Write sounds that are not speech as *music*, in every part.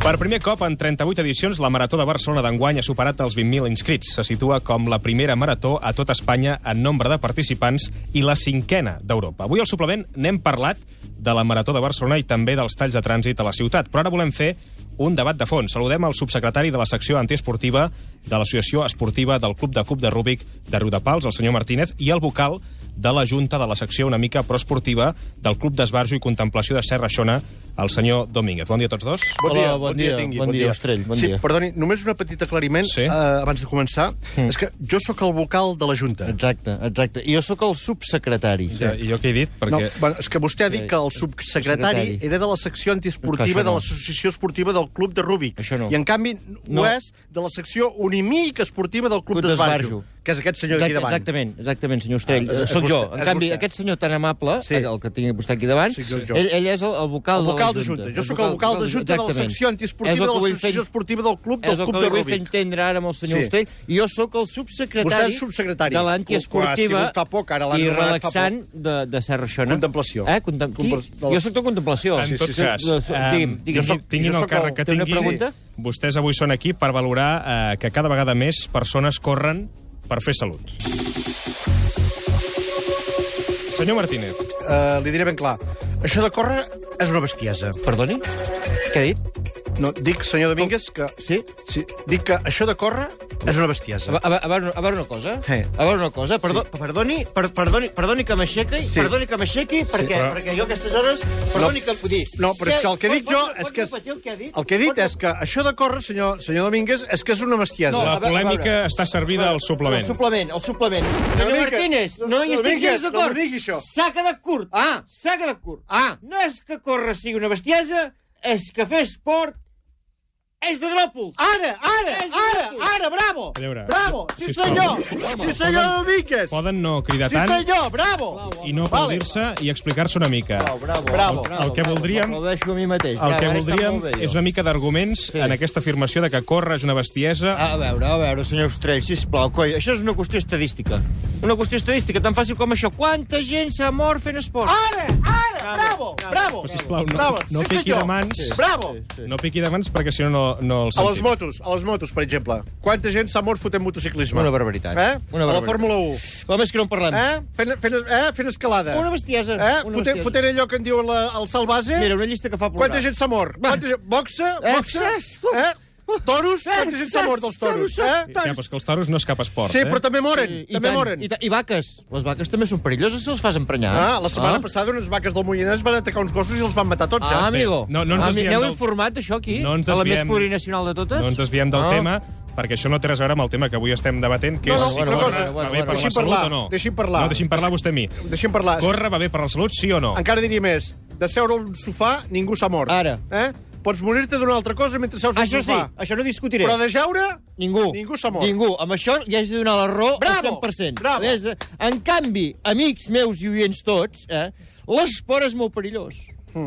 Per primer cop en 38 edicions, la Marató de Barcelona d'enguany ha superat els 20.000 inscrits. Se situa com la primera marató a tot Espanya en nombre de participants i la cinquena d'Europa. Avui al suplement n'hem parlat de la Marató de Barcelona i també dels talls de trànsit a la ciutat, però ara volem fer un debat de fons. Saludem al subsecretari de la secció antiesportiva de l'Associació Esportiva del Club de Club de Rúbic de Riudapals, el senyor Martínez, i el vocal de la Junta de la secció una mica proesportiva del Club d'Esbarjo i Contemplació de Serra Xona, el senyor Domínguez. Bon dia a tots dos. Bon Hola, dia, bon dia, tingui, bon dia, Ostrell, bon sí, dia. Perdoni, només un petit aclariment Sí. sí. eh, abans de començar. És que jo sóc el vocal de la Junta. Mm. Exacte, exacte. I jo sóc el subsecretari. Ja, I jo què he dit? No, Perquè... bueno, és que vostè ha dit que el subsecretari Secretari. era de la secció antiesportiva Això no. de l'Associació Esportiva del Club de Rúbic. Això no. I, en canvi, No. ho és de la secció unimic esportiva del Club, Club d'Esbarjo. d'Esbarjo, que és aquest senyor d'aquí Exacte, davant. exactament, exactament, senyor Ostrell. Ah, Ah, és Soc jo. vostè, En és canvi, vostè. aquest senyor tan amable, Sí. sí. el que tinc vostè aquí davant, Sí, sí, sóc jo. ell, ell és el, el vocal, El vocal de la Junta. Junta. Jo sóc el vocal de Junta de la Exactament. secció És antiesportiva el de que vull l'Associació fer- Esportiva del Club és del el Club que de li vull fer Rúbic. entendre ara amb el senyor Sí. sí. Ostrell. I jo sóc el subsecretari, Vostè és subsecretari. de Ho l'antiesportiva ha sigut fa poc, ara l'han i nomenat fa relaxant de, de Serra Xona. Contemplació. Eh? Contem... Qui? Compl- de la- Jo sóc de contemplació. En tot cas, De- de- eh, Digui'm, digui'm. jo soc, tinguin jo el sóc càrrec el- que Té una tinguin, pregunta? vostès avui són aquí per valorar eh, que cada vegada més persones corren per fer salut. Senyor Martínez, Eh, li diré ben clar. Això de córrer és una bestiesa. Perdoni? Què ha dit? No, dic, senyor Domínguez, que... Sí? Sí, dic que això de córrer és una A, bestiesa. ve- a, ve- a, veure, a veure una cosa. Sí. A veure una cosa. Perdó, perdoni, per, perdoni, perdoni que m'aixequi, Sí. sí. perdoni que m'aixequi, perquè, però- perquè jo a aquestes hores... Perdoni que... Vull dir, No, però és que el que pot- dic jo pot- és pot que... repetir El que ha dit, El que he dit Pot- és que això de córrer, senyor, senyor Domínguez, és que és una bestiesa. la a veure, a polèmica veure. està servida al suplement. El suplement, el suplement. Senyor digui- Martínez, no hi no estem digui- gens no d'acord. digui això. S'ha quedat curt. Ah. S'ha quedat curt. Ah. No és que córrer sigui una bestiesa, és que fer esport és de dròpols. Ara, ara, És ara, divertit. ara, bravo! A veure, bravo! Sí, sisplau. senyor! Sí, senyor Domínguez! Poden no cridar Sí, tant senyor, bravo! i no Vale. aplaudir-se i explicar-se una mica. bravo, Bravo. El que voldríem- M'aplaudeixo a mi mateix. El que Bravo, ara està voldríem molt bé, jo. és una mica d'arguments Sí. Ah. en aquesta afirmació de que córrer és una bestiesa. A veure, a veure, senyor Ostrell, sisplau, coi, això és una qüestió estadística. Una qüestió estadística tan fàcil com això. Quanta gent s'ha mort fent esport? Ara, ara, Bravo, bravo, bravo! Però, sisplau, no- bravo. no sí, piqui senyor. de mans. Bravo! No piqui de mans perquè si no, no, no el A les sentim. motos, a les motos, per exemple. Quanta gent s'ha mort fotent motociclisme? Una barbaritat. Eh? Una A la barbaritat. Fórmula 1. Com és que no en parlem? Eh? Fent, fent, eh? fent escalada. Una bestiesa. Eh? Una Fotent, bestiesa. fotent allò que en diuen la, el salvase. Mira, una llista que fa plorar. Quanta gent s'ha mort? Va. Quanta gent... Boxa? Eh, Boxa? saps? Eh? Toros? Eh, Quanta gent s'ha saps? mort dels toros? Toros, Eh? Ja, però és que els toros no és cap esport, Sí, eh? però també moren. I, també tant, moren. I, ta- I vaques. Les vaques també són perilloses si les fas emprenyar. Ah, la setmana passada unes vaques del Moianès van atacar uns gossos i els van matar tots, Ah, eh? amigo. Bé, no- no ens Ah, desviem N'heu del- informat, això, aquí? No ens A la més desviem- plurinacional de totes? No ens desviem del Ah. tema, perquè això no té res a veure amb el tema que avui estem debatent, que No, és no, si una córrer cosa, va bueno, bé bueno, per la deixi'm salut parlar, o no. deixi'm parlar. No, deixi'm parlar vostè a mi. Deixa'm parlar. Córrer va bé per la salut, sí o no? Encara diria més. De seure a un sofà, ningú s'ha mort. Ara. Eh? Pots morir-te d'una altra cosa mentre seus a un Això sí, sofà. això no discutiré. Ah. Però de jeure... Ningú. Ningú s'ha mort. Ningú. Amb això ja has de donar la raó al Bravo! 100%. Bravo! Li has de- En canvi, amics meus i oients tots, eh, l'esport és molt perillós.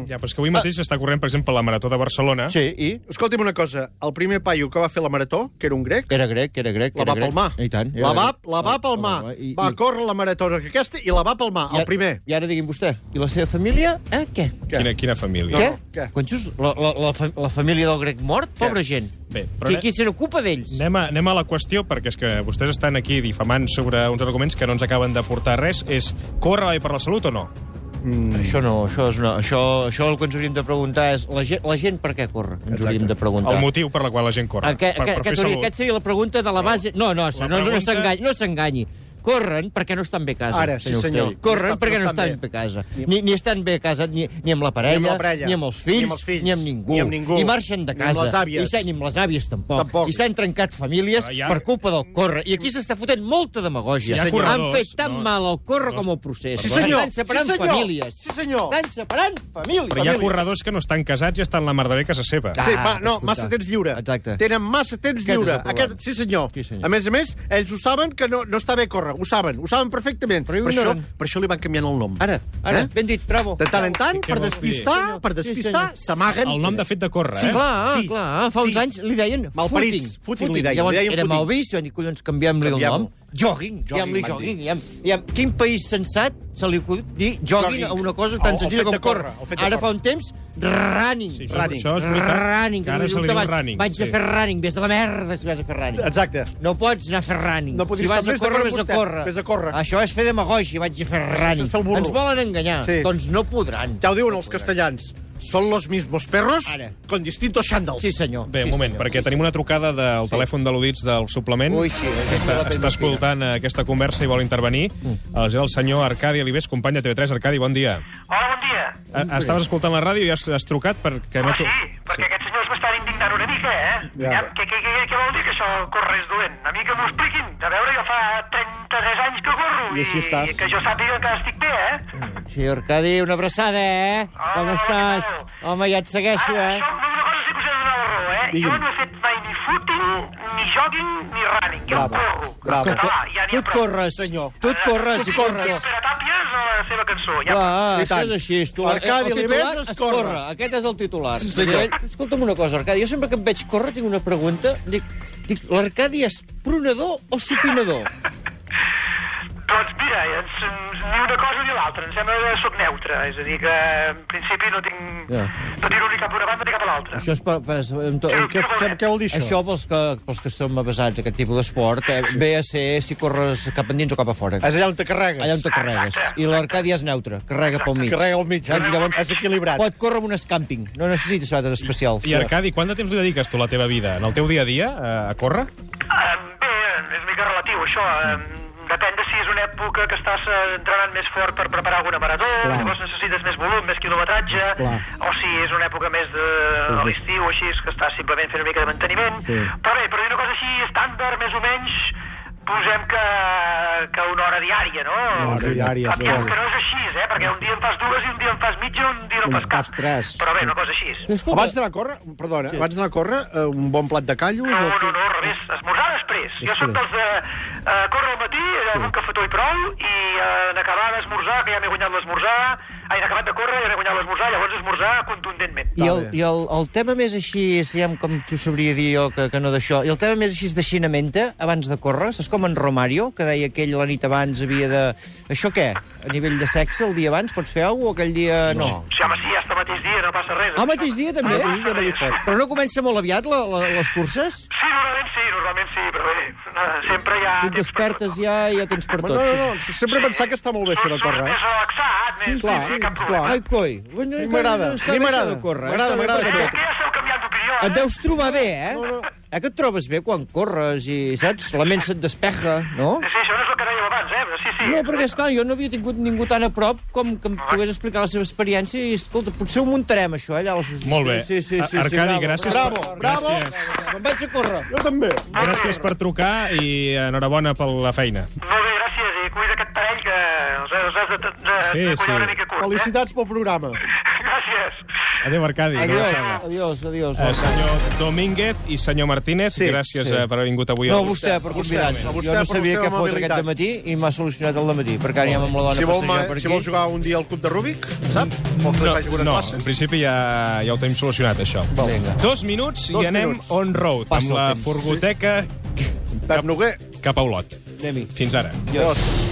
Ja, però és que avui mateix està corrent, per exemple, la Marató de Eh? Barcelona. Ah. Sí, i... Escolta'm una cosa. El primer paio que va fer la marató, que era un grec, Era grec, era grec, la era va grec. palmar. I tant. era La va, grec. Ah, la va palmar. I- Va i- córrer la marató aquesta i la va palmar, i el ara- primer. I ara digui'm vostè, i la seva família, eh, què? Quina, quina família. què? no, què? Conxos, la, la, la, fa- la família del grec mort? Pobra gent. Bé, però Qui, anem- qui se n'ocupa d'ells? Anem a, anem a la qüestió, perquè és que vostès estan aquí difamant sobre uns arguments que no ens acaben de portar res. És córrer va bé per la salut o no? Mm. Això no, això és una... Això, això el que ens hauríem de preguntar és la gent, la gent per què corre? Ens hauríem de preguntar. El motiu per la qual la gent corre. Aquest, per, aquest, per fer aquest, hauria- salut. aquest seria la pregunta de la base... No, no, no, no, no pregunta- s'enganyi. No s'enganyi. Corren perquè no estan bé a casa. Ara, sí, senyor. Ostrell. Corren No estan- perquè no no estan estan, bé bé. a casa. Ni, ni estan bé a casa ni, ni amb la parella, Ni amb la parella. ni amb els fills, Ni amb els fills. ni amb ningú. Ni amb ningú. I marxen de Ni amb casa. les àvies. I s'ha- ni amb les àvies tampoc. Tampoc. I s'han trencat famílies Però hi ha- per culpa del corre. I aquí s'està fotent molta demagògia. Ah, Hi ha corredors, Han fet tan no? mal el corre No, com el procés. Sí, senyor. Estan separant Sí, senyor. famílies. Sí, senyor. Estan separant famílies. Però hi ha Famílies. corredors que no estan casats i estan la mar de bé casa seva. Ah, Sí, va, no, escolta. massa temps lliure. Exacte. Tenen massa temps Aquest és el lliure. problema. sí, senyor. Sí, senyor. A més a més, ells ho saben que no, no està bé córrer. Ho saben, ho saben perfectament. Però hi ha un per, això, ignorant. per això li van canviant el nom. Ara, ara, Eh? eh? ben dit, bravo. De tant en tant, Sí, què per vols dir? despistar, Sí, senyor. per despistar, Sí, senyor. s'amaguen. El nom de fet de córrer, Sí, eh? clar, sí, sí, clar. Fa uns sí. anys li deien Malparits, footing, li deien, Llavors li deien era footing. malvist i van dir, collons, canviem-li el Canviem-ho. nom. Jogging, diguem-li van jogging. dir. Diguem, diguem, quin país sensat se li acut dir jogging, Jogging. a una cosa O- tan o senzilla fet com de córrer, córrer. o fet de Ara córrer. fa un temps, running. Sí, Sí, això, Running. això és veritat. running, que ara se li diu vaig, running. vaig a fer running, vés de la merda si vas a fer running. Exacte. No pots anar a fer running. No podries si vas estar a més córrer, d'acord amb vés a vostè. córrer. Vés a córrer. Això és fer demagògia, vaig a fer running. és fer el burro. Ens volen enganyar, Sí. doncs no podran. Ja ho diuen els castellans. Són los mismos perros Ara. con distintos xandals. Sí, senyor. Bé, sí, un moment, senyor. perquè tenim una trucada del telèfon de l'Udits del suplement. Ui, sí, aquesta està, la està primera escoltant eh, aquesta conversa i vol intervenir. Mm. El, el senyor Arcadi Alibés, company de TV3. Arcadi, bon dia. Hola, bon dia. A- Estaves escoltant la ràdio i has, has trucat perquè... Ah, tu- sí? Perquè aquests senyors m'estan indignant una mica, eh? Ja. Ja. Què, què, què, què vol dir que això córrer és dolent? A mi que m'ho expliquin. A veure, jo fa 33 anys que corro I així estàs. i que jo sàpiga que estic bé, eh? Sí, Arcadi, una abraçada, eh? Hola, Com hola, estàs? què tal? Home, ja et segueixo, eh? Ara, això, una cosa sí que us he de donar la raó, eh? Digui'm. Jo no he fet mai ni footing, ni jogging, ni running. Jo Bravo, corro. bravo. Català, ja tu n'hi ha et prou. corres, senyor. Tu et corres, i Corres. corres. Pere Tàpies a la seva cançó. Ja Clar, I és que tant. és així. és Tu, eh, Arcadi el titular Oliveres es corre. corre. Aquest és el titular. Sí, senyor. Perquè, Escolta'm una cosa, Arcadi, jo sempre que et veig córrer tinc una pregunta. Dic, dic l'Arcadi és prunador o supinador? Doncs mira, ens, ni una cosa ni l'altra. Em sembla que sóc neutre. És a dir, que en principi no tinc... Ja. No tiro ni cap a una banda ni cap a l'altra. Això és per... per, en to, en Què- què- què vol dir això? Això pels que, pels que som avasats, aquest tipus d'esport, eh, ve a ser si corres cap endins o cap a fora. És allà on te carregues. Allà on te carregues. I l'Arcadi és neutre, carrega pel mig. Carrega al mig. eh? Doncs llavors és equilibrat. pot córrer amb un escàmping. No necessita sabates especials. I Arcadi, quant de temps li dediques tu a la teva vida? En el teu dia a dia, eh, a córrer? Eh, Bé, és una mica relatiu, això. Eh, Depèn de si és una època que estàs eh, entrenant més fort per preparar alguna marató, Clar. llavors necessites més volum, més quilometratge, Clar. o si és una època més de a l'estiu, així, és que estàs simplement fent una mica de manteniment. Sí. Però bé, per dir una cosa així estàndard, més o menys, posem que, que una hora diària, no? Una hora diària, Cap- sí. Que no és així, eh? Perquè un dia en fas dues i un dia en fas mitja, un dia no Un fas cap. fas tres. Però bé, una cosa així. Escolta, Abans d'anar a córrer, perdona, sí. abans d'anar a córrer, eh, un bon plat de callos... No, o- no, no, al revés. Esmorzar després. Jo sóc dels de eh, córrer al matí, allò amb un cafetó i prou, i eh, en acabar d'esmorzar, que ja m'he guanyat l'esmorzar, ai, en acabat de córrer ja m'he guanyat l'esmorzar, llavors esmorzar contundentment. I, el, Està bé. i el, el tema més així, siguem com t'ho sabria dir jo, que, que no d'això, i el tema més així de xinamenta, abans de córrer, saps com en Romario, que deia que ell la nit abans havia de... Això què? A nivell de sexe, el dia abans pots fer alguna cosa o aquell dia no? Sí, home, sí, hasta el mateix dia, no passa res. Ah, mateix dia, també? Ah, sí, també. Però no comença molt aviat la, la, les curses? Sí, normalment sí, normalment sí, però bé, eh, sempre hi ha... Tu et despertes ja i ja tens per No, tot. no, no, sempre he pensat que està molt bé això de córrer, Surt eh? més relaxat, més... clar, sí, cap clar. problema. Ai, coi. A mi m'agrada, a mi m'agrada. M'agrada, m'agrada. Eh, és que ja esteu canviant d'opinió, eh? Et deus trobar bé, eh? No, no. Eh que et trobes bé quan corres i, saps, la ment se't despeja, no? Sí, això no és el que dèieu abans, eh? Però sí, sí. No, perquè, esclar, jo no havia tingut ningú tan a prop com que em pogués explicar la seva experiència i, escolta, potser ho muntarem, això, allà a l'associació. Molt bé. Sí, sí, sí, sí, Arcadi, bravo, gràcies. bravo, per- bravo. Gràcies. bravo. Me'n vaig a córrer. Jo també. Gràcies per trucar i enhorabona per la feina. Molt bé, gràcies, i cuida aquest parell que els, els has de, de, de Sí, collar sí. una mica curt. Felicitats pel programa. Eh? *laughs* Gràcies. Adéu, Arcadi. una Adiós, abraçada. adiós, adiós. Eh, senyor Domínguez i senyor Martínez, Sí, gràcies sí. eh, per haver vingut avui. No, al- a vostè, per convidar-nos. a vostè, Jo no per sabia vostè què fotre amabilitat. aquest matí i m'ha solucionat el matí, perquè ara anem amb la dona Si a vol, passejar per si aquí. vol jugar un dia al Club de Rúbic, sap? Vol que li faci una no, classe. en principi ja, ja ho tenim solucionat, això. Vinga. Dos minuts Dos i anem minuts. on road, Passa amb el la temps. furgoteca Pep Noguer. cap a Olot. Anem-hi. Fins ara. Adiós.